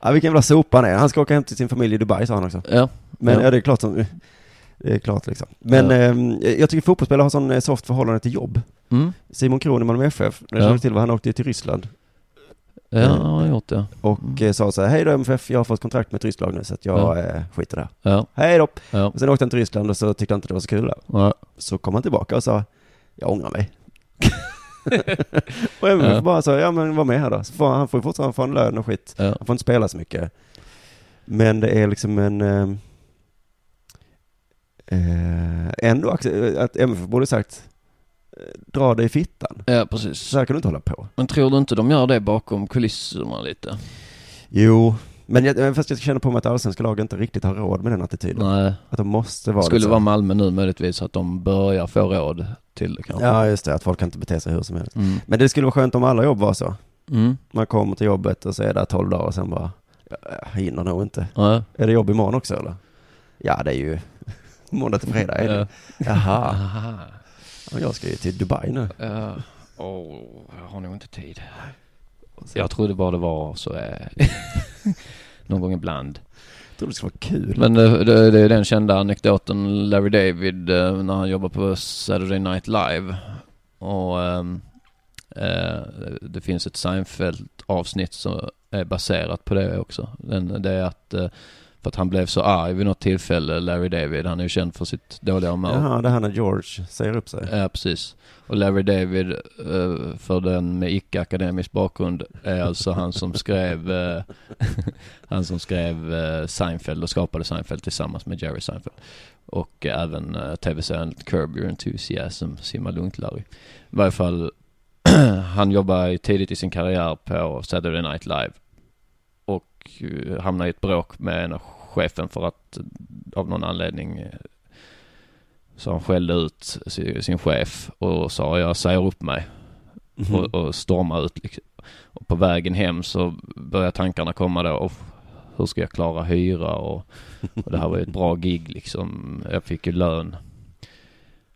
Speaker 10: Ja, vilken jävla sopa han är. Han ska åka hem till sin familj i Dubai sa han också.
Speaker 11: Ja.
Speaker 10: Men
Speaker 11: Ja.
Speaker 10: ja, det är klart som... Det är klart liksom. Men
Speaker 11: Ja.
Speaker 10: ehm, jag tycker fotbollsspelare har sån eh, soft förhållande till jobb.
Speaker 11: Mm.
Speaker 10: Simon Kron i Malmö FF, när
Speaker 11: Ja.
Speaker 10: jag känner till vad han åkte till Ryssland. Mm.
Speaker 11: Ja, jag har gjort det. Mm.
Speaker 10: Och eh, sa så här, hej då MFF, jag har fått kontrakt med ett ryskt lag nu så att jag
Speaker 11: Ja.
Speaker 10: eh, skiter där.
Speaker 11: Ja.
Speaker 10: Hej då!
Speaker 11: Ja.
Speaker 10: Och sen åkte han till Ryssland och så tyckte han inte det var så kul där. Så kom han tillbaka och sa, jag ångrar mig. och MFF
Speaker 11: Ja.
Speaker 10: bara sa, ja men var med här då. Så får, han- han får ju fortfarande få en lön och skit.
Speaker 11: Ja.
Speaker 10: Han får inte spela så mycket. Men det är liksom en... ehm, Eh, ändå acce- att MFF borde sagt, eh, dra dig i fittan.
Speaker 11: Ja, precis.
Speaker 10: Så här kan du inte hålla på.
Speaker 11: Men tror du inte de gör det bakom kulisserna lite?
Speaker 10: Jo, men jag, eh, fast jag känner på mig att allsvenska lag inte riktigt har råd med den attityden.
Speaker 11: Nej.
Speaker 10: Att de måste vara
Speaker 11: Skulle
Speaker 10: lite så.
Speaker 11: vara Malmö nu möjligtvis att de börjar få råd till det kanske.
Speaker 10: Ja, just det. Att folk kan inte bete sig hur som helst.
Speaker 11: Mm.
Speaker 10: Men det skulle vara skönt om alla jobb var så.
Speaker 11: Mm.
Speaker 10: Man kommer till jobbet och så är där 12 dagar och sen bara, jag hinner nog inte.
Speaker 11: Nej.
Speaker 10: Är det jobb imorgon också eller? Ja, det är ju [laughs] måndag till fredag. Är det. Jaha.
Speaker 11: Aha.
Speaker 10: Ja, jag ska ju till Dubai nu.
Speaker 11: Ja. Åh, jag har nog inte tid. Jag trodde bara det var så eh, någon gång ibland.
Speaker 10: Jag trodde det skulle vara kul.
Speaker 11: Men eh, det, det är den kända anekdoten Larry David eh, när han jobbar på Saturday Night Live. Och ehm, eh, det finns ett Seinfeld avsnitt som är baserat på det också. Den, det är att eh,
Speaker 10: För att han blev så arg vid något tillfälle, Larry David. Han är ju känd för sitt dåliga humör.
Speaker 11: Jaha, det här när George säger upp sig.
Speaker 10: Ja, precis. Och Larry David, eh, för den med icke-akademisk bakgrund, är alltså han som skrev, eh, han som skrev eh, Seinfeld och skapade Seinfeld tillsammans med Jerry Seinfeld. Och eh, även eh, tv-serien Curb Your Enthusiasm, Simma Lugnt Larry. I varje fall, [clears throat] han jobbar ju tidigt i sin karriär på Saturday Night Live. Och eh, hamnar i ett bråk med en av chefen för att eh, av någon anledning eh, så han skällde ut si- sin chef och sa jag säger upp mig.
Speaker 11: Mhm.
Speaker 10: Och, och stormade ut liksom. Och på vägen hem så började tankarna komma då. Och hur ska jag klara hyra och, och det här var ju ett bra gig liksom. Jag fick ju lön.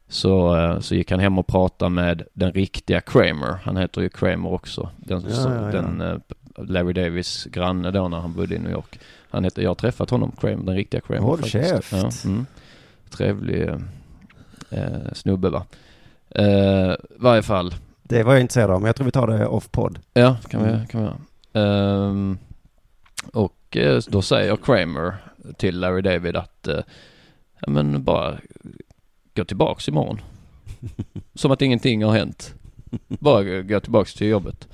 Speaker 10: Så, eh, så gick han hem och pratade med den riktiga Kramer. Han heter ju Kramer också. Den,
Speaker 11: Ja,
Speaker 10: som,
Speaker 11: ja, ja.
Speaker 10: den eh, Larry Davis granne då när han bodde i New York. Han heter, jag har träffat honom, Kramer, den riktiga Kramer
Speaker 11: Håll
Speaker 10: faktiskt.
Speaker 11: käft.
Speaker 10: Ja, mm. Trevlig eh, eh, snubbe va. Eh, varje fall.
Speaker 11: Det var jag intresserad av, men jag tror vi tar det off-podd.
Speaker 10: Ja, kan vi,
Speaker 11: Mm.
Speaker 10: kan vi göra. Ehm, och eh, då säger Kramer till Larry David att eh, ja, men bara gå
Speaker 11: [laughs]
Speaker 10: tillbaks imorgon. Som att ingenting har hänt. Bara gå- gå tillbaks till jobbet.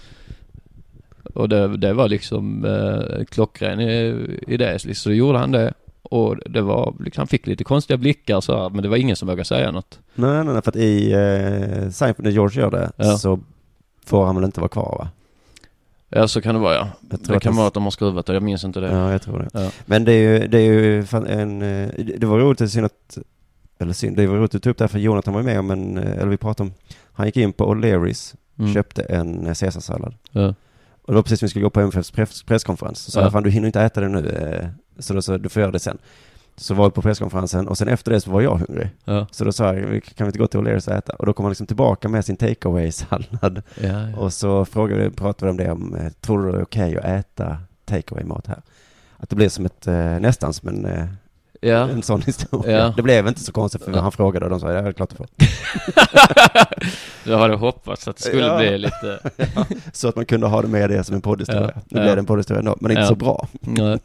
Speaker 10: Och det, det var liksom eh, klockren i- idé. Så då gjorde han det. Och det var, liksom, han fick lite konstiga blickar så här, men det var ingen som vågade säga något.
Speaker 11: Nej, nej, nej, för att i eh, Seinfeld, när George gör det,
Speaker 10: Ja.
Speaker 11: så får han väl inte vara kvar va?
Speaker 10: Ja, så kan det vara ja.
Speaker 11: tror
Speaker 10: Det
Speaker 11: att
Speaker 10: kan
Speaker 11: han-
Speaker 10: vara att de har skruvat det, jag minns inte det.
Speaker 11: Ja, jag tror det.
Speaker 10: Ja.
Speaker 11: Men det är ju, det är ju fan en, eh, det var roligt att synd att, eller synd, det var roligt att ta upp det här för Jonathan var ju med om en, eh, eller vi pratade om, han gick in på O'Learys,
Speaker 10: Mm.
Speaker 11: köpte en eh, caesarsallad.
Speaker 10: Ja.
Speaker 11: Och det var precis när vi skulle gå på MFFs press, presskonferens. Så sa
Speaker 10: Ja.
Speaker 11: jag, fan du hinner inte äta det nu, eh, så då sa jag, du får göra det sen. Så var vi på presskonferensen och sen efter det så var jag hungrig.
Speaker 10: Ja.
Speaker 11: Så då sa jag, "Vi- kan vi inte gå till O'Learys och äta? Och då kom han liksom tillbaka med sin takeaway-sallad.
Speaker 10: Ja, ja.
Speaker 11: Och så frågade, vi- pratade vi om det, om, eh, tror du det är okej att äta takeaway-mat här? Att det blev som ett, eh, nästan som en, eh,
Speaker 10: Ja.
Speaker 11: en sån historia.
Speaker 10: Ja.
Speaker 11: Det blev inte så konstigt för han frågade och de sa, ja det är klart du får.
Speaker 10: [laughs] Jag hade hoppats att det skulle
Speaker 11: Ja.
Speaker 10: bli lite...
Speaker 11: [laughs] Ja, så att man kunde ha det med det som en poddhistoria.
Speaker 10: Ja,
Speaker 11: Nu
Speaker 10: ja.
Speaker 11: blev det en poddhistoria ändå, men inte
Speaker 10: Ja.
Speaker 11: så bra.
Speaker 10: Nej.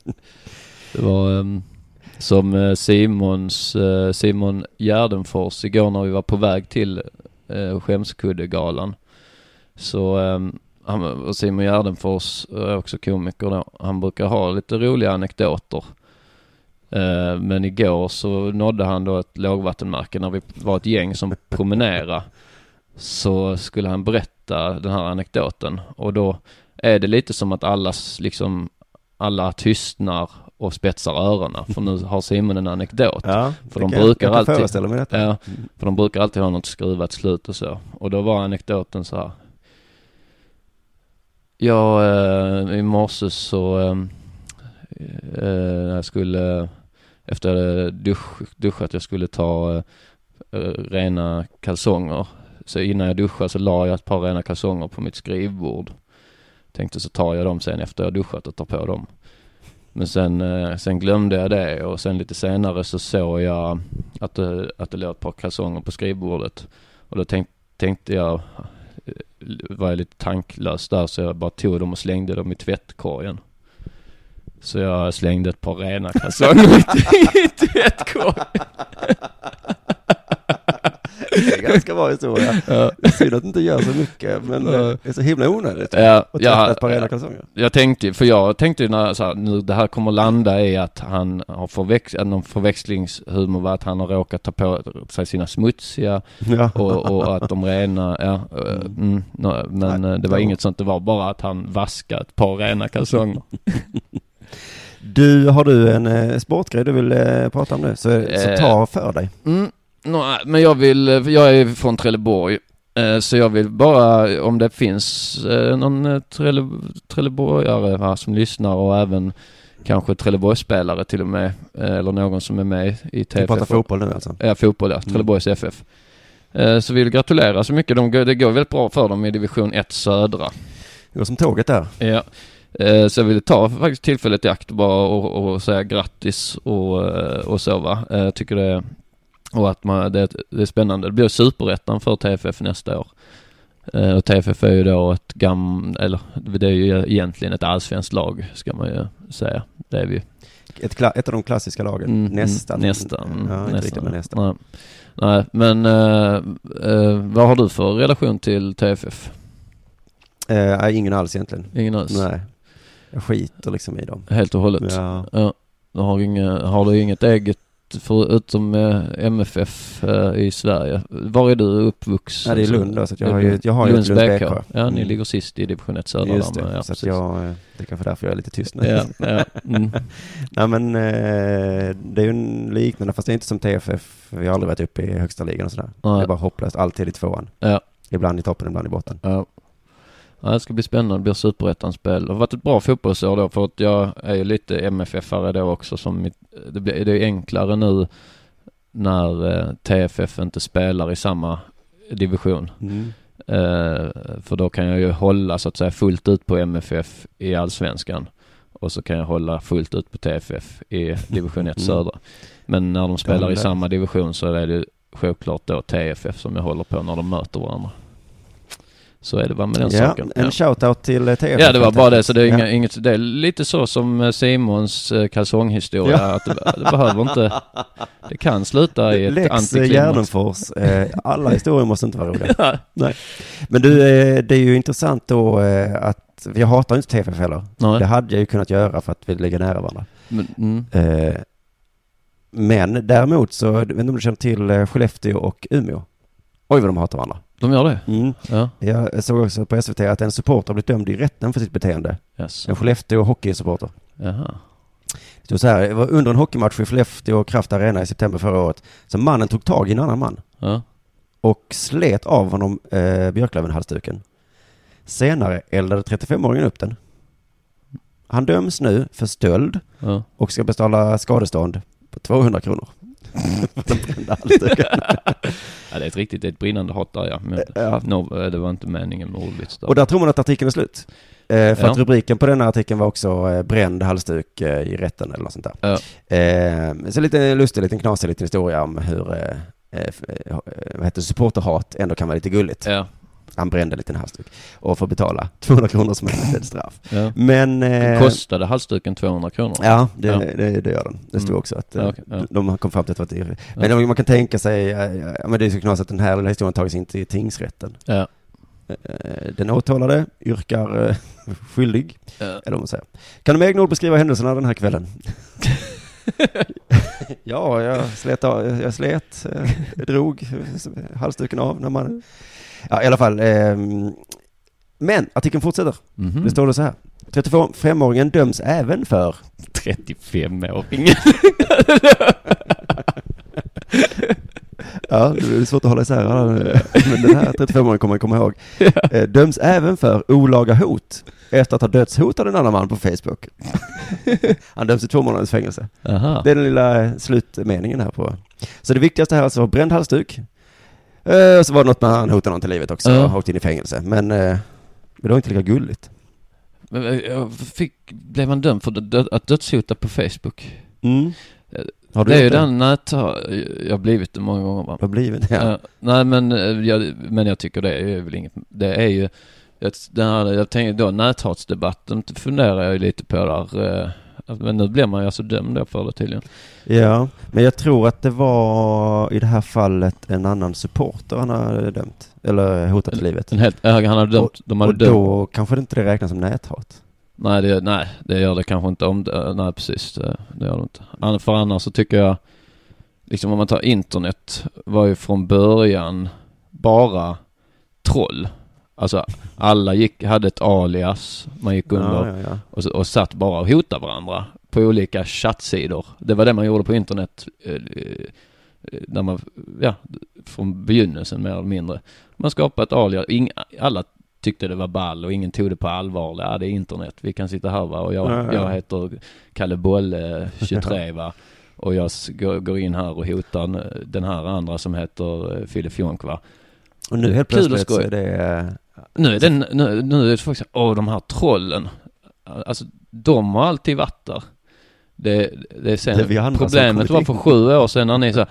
Speaker 10: Det var ehm, som eh, Simons, eh, Simon Gärdenfors igår när vi var på väg till eh, Skämskuddegalan. Så ehm, han, och Simon Gärdenfors är också komiker då. Han brukar ha lite roliga anekdoter. Eh, Men igår så nådde han då ett lågvattenmärke när vi var ett
Speaker 11: [laughs]
Speaker 10: gäng som promenerade. Så skulle han berätta den här anekdoten och då är det lite som att alla s- liksom alla tystnar och spetsar öronen för nu har Simon en anekdot.
Speaker 11: Ja,
Speaker 10: för
Speaker 11: det
Speaker 10: de
Speaker 11: kan jag-
Speaker 10: brukar
Speaker 11: jag kan
Speaker 10: alltid,
Speaker 11: föreställa mig detta. Mm.
Speaker 10: Ja, för de brukar alltid ha något skruvat slut och så. Och då var anekdoten så här. Ja, eh, i morse så eh, eh, när jag skulle, efter jag hade dusch, duschat, jag skulle ta eh, eh, rena kalsonger. Så innan jag duschade så la jag ett par rena kalsonger på mitt skrivbord. Tänkte så tar jag dem sen efter jag duschat och tar på dem. Men sen, eh, sen glömde jag det och sen lite senare så såg jag att det, att det låg ett par kalsonger på skrivbordet. Och då tänk, tänkte jag, eh, var jag lite tanklös där så jag bara tog dem och slängde dem i tvättkorgen. Så jag slängde ett par rena kalsonger [laughs] i tvättkorgen.
Speaker 11: Det är en ganska bra historia.
Speaker 10: [laughs] Ja.
Speaker 11: Det är synd att det inte gör så mycket, men eh, det är så himla onödigt.
Speaker 10: Ja,
Speaker 11: och
Speaker 10: ja,
Speaker 11: tvätta ett par
Speaker 10: ja.
Speaker 11: rena kalsonger.
Speaker 10: Jag tänkte ju- för jag tänkte ju när så här, nu det här kommer landa i att han har förväx, att någon förväxlingshumor var att han har råkat ta på sig sina smutsiga
Speaker 11: [laughs] Ja.
Speaker 10: och, och att de rena, ja,
Speaker 11: [laughs]
Speaker 10: eh, mm, nå, men eh, det var
Speaker 11: jo.
Speaker 10: inget sånt, det var bara att han vaskade ett par rena kalsonger.
Speaker 11: [laughs] Du, har du en eh, sportgrej du vill eh, prata om nu? Så, så ta
Speaker 10: Eh,
Speaker 11: för dig.
Speaker 10: Mm, nå, men jag vill, eh, jag är från Trelleborg, eh, så jag vill bara, om det finns eh, någon eh, Trelle, Trelleborgare va, som lyssnar och även kanske Trelleborgsspelare till och med, eh, eller någon som är med i TFF.
Speaker 11: pratar fotboll nu alltså?
Speaker 10: Ja, fotboll ja, Trelleborgs FF. Eh, Så vill gratulera så mycket, de, går- det går väldigt bra för dem i division 1 södra.
Speaker 11: Det går som tåget där.
Speaker 10: Ja. Eh, Så jag ville ta faktiskt tillfället i akt bara och, och säga grattis och, eh, och så va. Eh, Jag tycker det är, och att man, det, det är spännande. Det blir superettan för TFF nästa år. Eh, Och TFF är ju då ett gam eller det är ju egentligen ett allsvenskt lag ska man ju säga. Det är vi ju. ett, kla- ett av de klassiska lagen.
Speaker 11: Mm,
Speaker 10: nästan.
Speaker 11: mm, Nästan.
Speaker 10: Ja, inte
Speaker 11: nästan.
Speaker 10: riktigt, men nästan.
Speaker 11: Nej, Nej men eh, eh, vad har du för relation till TFF?
Speaker 10: Eh, nej, ingen alls egentligen.
Speaker 11: Ingen alls?
Speaker 10: Nej. Jag skiter liksom i dem.
Speaker 11: Helt och hållet?
Speaker 10: Ja.
Speaker 11: Du har, inga, har du inget eget förutom eh, MFF eh, i Sverige? Var är du Alltså, uppvuxen?
Speaker 10: Nej, det är Lund då, så att jag har ju- jag har ju
Speaker 11: Lunds
Speaker 10: ett Lunds
Speaker 11: BK.
Speaker 10: BK.
Speaker 11: Ja, ni
Speaker 10: Mm.
Speaker 11: ligger sist i division 1 södra
Speaker 10: Just
Speaker 11: där,
Speaker 10: det,
Speaker 11: men ja,
Speaker 10: så att
Speaker 11: precis.
Speaker 10: jag, eh, det är kanske därför jag är lite tyst nu.
Speaker 11: Ja, ja, mm.
Speaker 10: [laughs] Nej men eh, det är ju en liknande, fast det är inte som TFF, vi har aldrig varit uppe i högsta ligan och sådär.
Speaker 11: Nej.
Speaker 10: Det är bara hopplöst, alltid i tvåan.
Speaker 11: Ja.
Speaker 10: Ibland i toppen, ibland i botten.
Speaker 11: Ja. Ja, det ska bli spännande. Det blir superettan-spel. Det har varit ett bra fotbollsår då för att jag är ju lite MFF-are då också som mitt, Eh, det, blir, det är enklare nu när eh, TFF inte spelar i samma division.
Speaker 10: Mm.
Speaker 11: Eh, för då kan jag ju hålla så att säga fullt ut på MFF i allsvenskan och så kan jag hålla fullt ut på TFF
Speaker 10: [laughs]
Speaker 11: i division 1
Speaker 10: Mm.
Speaker 11: södra. Men när de spelar i
Speaker 10: lätt.
Speaker 11: samma division så är det ju självklart då TFF som jag håller på när de möter varandra. Så är det bara med den
Speaker 10: ja,
Speaker 11: saken.
Speaker 10: en shoutout till eh, TFF.
Speaker 11: Ja det var bara det, så det är
Speaker 10: Ja.
Speaker 11: inga, inget, det är lite så som eh, Simons eh, kalsonghistoria,
Speaker 10: Ja.
Speaker 11: att det, det behöver inte, det kan sluta i ett
Speaker 10: Lex eh,
Speaker 11: antiklimax.
Speaker 10: Gärdenfors, eh, alla historier måste inte vara
Speaker 11: [laughs] Ja.
Speaker 10: roliga. Nej. Men du, eh, det är ju intressant då eh, att, jag hatar ju inte TFF heller.
Speaker 11: Nej.
Speaker 10: Det hade jag ju kunnat göra för att vi ligger nära varandra.
Speaker 11: Men, mm.
Speaker 10: Eh, Men däremot så, jag vet inte om du känner till eh, Skellefteå och Umeå? Oj vad de hatar varandra.
Speaker 11: De gör det?
Speaker 10: Mm.
Speaker 11: Ja.
Speaker 10: Jag såg också på SVT att en supporter blivit dömd i rätten för sitt beteende.
Speaker 11: Jaså.
Speaker 10: En Skellefteå hockeysupporter.
Speaker 11: Jaha.
Speaker 10: Det stod så här, det var under en hockeymatch i Skellefteå och Kraft Arena i september förra året, så mannen tog tag i en annan man.
Speaker 11: Ja.
Speaker 10: Och slet av honom eh, Björklöven-halsduken. Senare eldade 35-åringen upp den. Han döms nu för stöld
Speaker 11: Ja.
Speaker 10: och ska betala skadestånd på
Speaker 11: [laughs]
Speaker 10: 200 kronor. [laughs] Den brända halsduken.
Speaker 11: ja, det är ett riktigt, det är ett brinnande hat där ja. Men,
Speaker 10: Ja.
Speaker 11: No, eh, det var inte meningen med ordvits där.
Speaker 10: Och där tror man att artikeln är slut. Eh, för
Speaker 11: Ja.
Speaker 10: att rubriken på den här artikeln var också eh, bränd halsduk eh, i rätten eller något sånt där. Eh, så lite lustig, lite knasig liten historia om hur eh, eh, f- eh, vad heter det, supporterhat ändå kan vara lite gulligt. Han brände en liten halsduk och får betala 200 kronor som ett litet straff.
Speaker 11: Ja.
Speaker 10: Men...
Speaker 11: Den
Speaker 10: eh,
Speaker 11: kostade halsduken 200 kronor?
Speaker 10: Ja, det, Det, det gör den. Det stod
Speaker 11: Mm.
Speaker 10: också att eh,
Speaker 11: Ja, okej, ja.
Speaker 10: de kom fram till att det var dyrt. Men man kan tänka sig, eh, ja, men det är så knasigt att den här lilla historien tagits in till tingsrätten.
Speaker 11: Ja.
Speaker 10: Eh, Den åtalade yrkar eh, [laughs] skyldig,
Speaker 11: Ja.
Speaker 10: eller vad man säger. Kan du med egna ord beskriva händelserna den
Speaker 11: [laughs]
Speaker 10: här kvällen? ja, jag slet, av, jag slet eh, drog eh, halsduken av när
Speaker 11: Mm.
Speaker 10: man... Ja, i alla fall. ehm, Men artikeln fortsätter.
Speaker 11: Mhm.
Speaker 10: Det står då så här. 35-åringen döms även för
Speaker 11: 35-åringen.
Speaker 10: [laughs] Ja, det är svårt att hålla isär alla. Men den här 35-åringen kommer jag komma ihåg. Eh, Döms även för olaga hot efter att ha dödshotat en annan man
Speaker 11: [laughs]
Speaker 10: på Facebook. Han döms till två månaders fängelse.
Speaker 11: Aha.
Speaker 10: Det är den lilla eh, slutmeningen här på. Så det viktigaste här alltså var bränd halsduk. Eh, Så var det något med att han hotade någon till livet också
Speaker 11: Ja.
Speaker 10: och åkte in i fängelse. Men eh, men det var inte lika gulligt.
Speaker 11: Men, eh, jag fick, blev han dömd för dö- att dödshota på Facebook?
Speaker 10: Mm.
Speaker 11: Eh,
Speaker 10: Har du
Speaker 11: det är ju
Speaker 10: gjort det?
Speaker 11: den nät, jag har blivit det många gånger va?
Speaker 10: Har blivit, ja.
Speaker 11: Eh, nej men, eh, jag, men jag tycker det är väl inget, det är ju, ett- den här, jag tänker då näthatsdebatten funderar jag ju lite på där. eh, att- Men nu blir man ju alltså dömd då för det tydligen.
Speaker 10: Ja, men jag tror att det var i det här fallet en annan supporter han hade dömt. Eller hotat till livet.
Speaker 11: En helt, ja, han hade dömt, de hade
Speaker 10: och då kanske det inte det räknas som näthat.
Speaker 11: Nej det, nej, det gör det kanske inte om det, nej precis, det, det gör det inte. An- För annars så tycker jag, liksom om man tar internet, var ju från början bara troll. Alltså alla gick, hade ett alias, man gick
Speaker 10: Ja,
Speaker 11: under
Speaker 10: ja, ja.
Speaker 11: Och, så- och satt bara och hotade varandra på olika chattsidor. Det var det man gjorde på internet eh, eh, när man, ja, från begynnelsen mer eller mindre. Man skapade ett alias, Ing, alla tyckte det var ball och ingen tog det på allvar. Ja, det är internet, vi kan sitta här va och jag,
Speaker 10: Ja, ja.
Speaker 11: jag heter Kalle
Speaker 10: [laughs]
Speaker 11: Bolle 23 va. Och jag s- går går in här och hotar eh, den här andra som heter eh, Filip Jonk va.
Speaker 10: Och nu helt
Speaker 11: Kul och
Speaker 10: plötsligt så
Speaker 11: skoj.
Speaker 10: är det... eh,
Speaker 11: Nu är, den, nu,
Speaker 10: alltså,
Speaker 11: nu är det folk som åh de här trollen. Alltså de har alltid varit där.
Speaker 10: Det, det är sen,
Speaker 15: Det vi andra som
Speaker 10: problemet
Speaker 15: kommit
Speaker 10: var
Speaker 15: in.
Speaker 10: för sju år sedan när ni så här,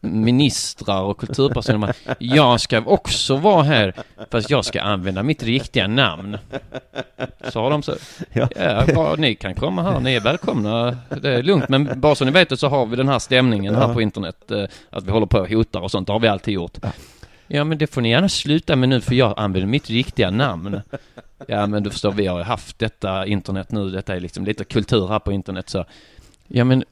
Speaker 10: ministrar och kulturpersoner bara, jag ska också vara här fast jag ska använda mitt riktiga namn. Sa de så? Ja, bara, ni kan komma här, ni är välkomna. Det är lugnt men bara så ni vet det så har vi den här stämningen här
Speaker 15: Ja.
Speaker 10: på internet. eh, Att vi håller på och hotar och sånt, det har vi alltid gjort. Ja men det får ni gärna sluta med nu för jag använder mitt riktiga namn. Ja men du förstår, vi har ju haft detta internet nu, detta är liksom lite kultur här på internet så. Ja men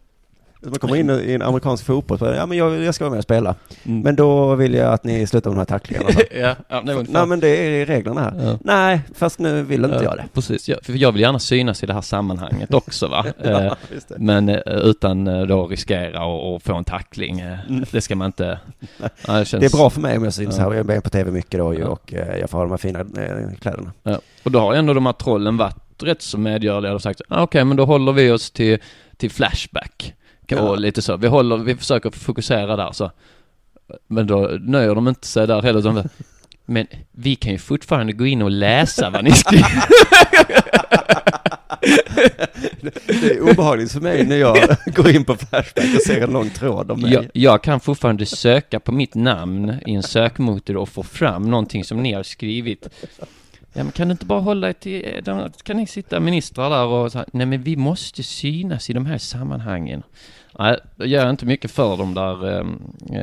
Speaker 15: Man kommer in i en amerikansk fotboll och ja men jag, jag ska vara med och spela. Men då vill jag att ni slutar med de här tacklingarna.
Speaker 10: Mm. [laughs] ja, ja, det var ungefär.
Speaker 15: Nej men det är reglerna här.
Speaker 10: Ja.
Speaker 15: Nej, fast nu vill inte
Speaker 10: Ja,
Speaker 15: jag det.
Speaker 10: Precis, ja, för jag vill gärna synas i det här sammanhanget också
Speaker 15: [laughs]
Speaker 10: va.
Speaker 15: Ja,
Speaker 10: Eh,
Speaker 15: just det.
Speaker 10: Men eh, utan eh, då riskera och, och få en tackling. eh,
Speaker 15: Mm.
Speaker 10: Det ska man inte... Ja, känns-
Speaker 15: Det är bra för mig om jag syns
Speaker 10: Ja.
Speaker 15: här och jag är med på tv mycket då ju och eh, jag får ha de här fina eh, kläderna.
Speaker 10: Ja. Och då har ju ändå de här trollen varit rätt så medgörliga och sagt ah, okej men då håller vi oss till, till Flashback. Och lite så. Vi, håller, vi försöker fokusera där så. Men då nöjer de inte sig där heller. utan men vi kan ju fortfarande gå in och läsa vad ni skriver.
Speaker 15: Det är obehagligt för mig när jag [laughs] går in på Flashback och ser en lång tråd om mig.
Speaker 10: Jag, jag kan fortfarande söka på mitt namn i en sökmotor och få fram någonting som ni har skrivit. Ja, men kan du inte bara hålla er till, eh, de- kan ni sitta ministrar där och så här, nej men vi måste synas i de här sammanhangen. Nej, det gör jag inte mycket för de där eh, eh, som
Speaker 15: Nej,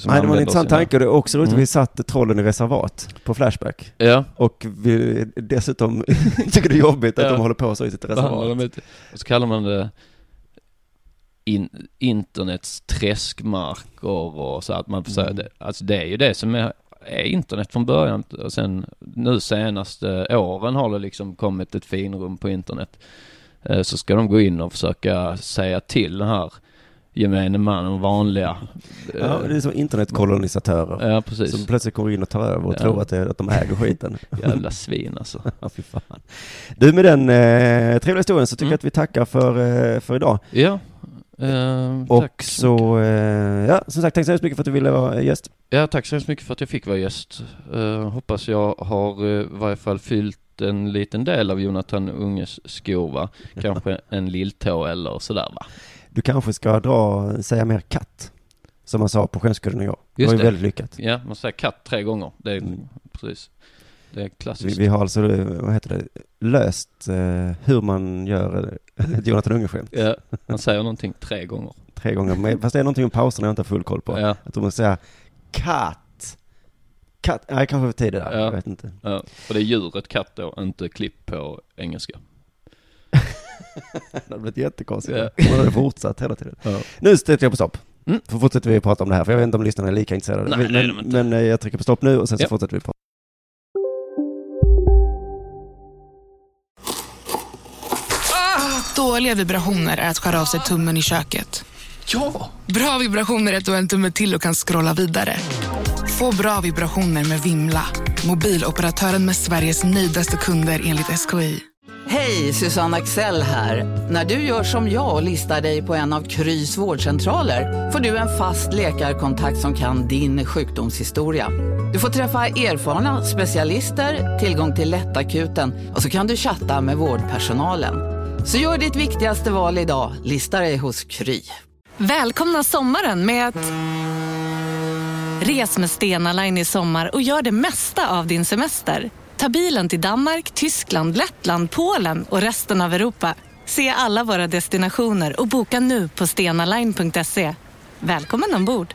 Speaker 15: det var
Speaker 10: använder
Speaker 15: en intressant
Speaker 10: sina-
Speaker 15: tanke och det är också roligt att
Speaker 10: Mm.
Speaker 15: vi satte trollen i reservat på Flashback.
Speaker 10: Ja.
Speaker 15: Och vi dessutom [laughs] tycker det är jobbigt att
Speaker 10: Ja.
Speaker 15: de håller på så i sitt
Speaker 10: Behandlar
Speaker 15: reservat.
Speaker 10: dem inte. Och så kallar man det in, internets träskmarker och så att man försöker,
Speaker 15: Mm.
Speaker 10: alltså det är ju det som är, är internet från början och sen nu senaste åren har det liksom kommit ett finrum på internet. Eh, Så ska de gå in och försöka säga till den här gemene man och vanliga. eh,
Speaker 15: Ja, det är som internetkolonisatörer.
Speaker 10: Ja, precis.
Speaker 15: Som plötsligt kommer in och tar över och
Speaker 10: Ja.
Speaker 15: tror att, det, att de äger skiten.
Speaker 10: Jävla svin alltså.
Speaker 15: [laughs] Ja, fy fan. Du, med den eh, trevliga historien så tycker jag att vi tackar för, eh, för idag.
Speaker 10: Mm. Ja, eh,
Speaker 15: Och
Speaker 10: tack.
Speaker 15: så, eh, ja, som sagt, tack så hemskt mycket för att du ville vara eh, gäst.
Speaker 10: Ja, tack så hemskt mycket för att jag fick vara gäst. Eh, hoppas jag har eh, i varje fall fyllt en liten del av Jonathan Unges
Speaker 15: [laughs]
Speaker 10: skor, va? Kanske en lilltå eller sådär, va?
Speaker 15: Du kanske ska dra, säga mer katt, som man sa på Skämskudden igår. det var ju väldigt lyckat. Mm.
Speaker 10: Ja, man säger katt tre gånger. Det är precis. Det är klassiskt.
Speaker 15: Vi, vi har alltså, eh, vad heter det, löst eh, hur man gör
Speaker 10: [laughs]
Speaker 15: eh, ett Jonathan Unge-skämt.
Speaker 10: Ja, man säger någonting tre gånger.
Speaker 15: Tre gånger, men- fast det är någonting om pauserna jag inte har full koll på.
Speaker 10: Ja.
Speaker 15: Att de måste säga katt, katt, nej kanske för tidigt där, jag vet inte.
Speaker 10: Ja, och det är djuret katt då, inte klipp på engelska.
Speaker 15: [laughs] Det hade blivit jättekonstigt.
Speaker 10: Ja.
Speaker 15: Man hade fortsatt hela tiden.
Speaker 10: Ja. Mm.
Speaker 15: Nu stöter jag på stopp. För fortsätter vi prata om det här, för jag vet inte om lyssnarna är lika intresserade.
Speaker 10: Nej,
Speaker 15: men,
Speaker 10: det är de inte.
Speaker 15: men eh, jag trycker på stopp nu och sen så
Speaker 10: Ja.
Speaker 15: fortsätter vi prata.
Speaker 16: Dåliga vibrationer är att skära av sig tummen i köket.
Speaker 17: Ja!
Speaker 16: Bra vibrationer är att du har en tumme till och kan scrolla vidare. Få bra vibrationer med Vimla. Mobiloperatören med Sveriges nöjdaste kunder enligt SKI.
Speaker 18: Hej, Susanne Axel här. När du gör som jag och listar dig på en av Krys vårdcentraler får du en fast läkarkontakt som kan din sjukdomshistoria. Du får träffa erfarna specialister, tillgång till lättakuten och så kan du chatta med vårdpersonalen. Så gör ditt viktigaste val idag, listar dig hos Kry.
Speaker 19: Välkomna sommaren med att... Res med Stena Line i sommar och gör det mesta av din semester. Ta bilen till Danmark, Tyskland, Lettland, Polen och resten av Europa. Se alla våra destinationer och boka nu på stenaline.se. Välkommen ombord!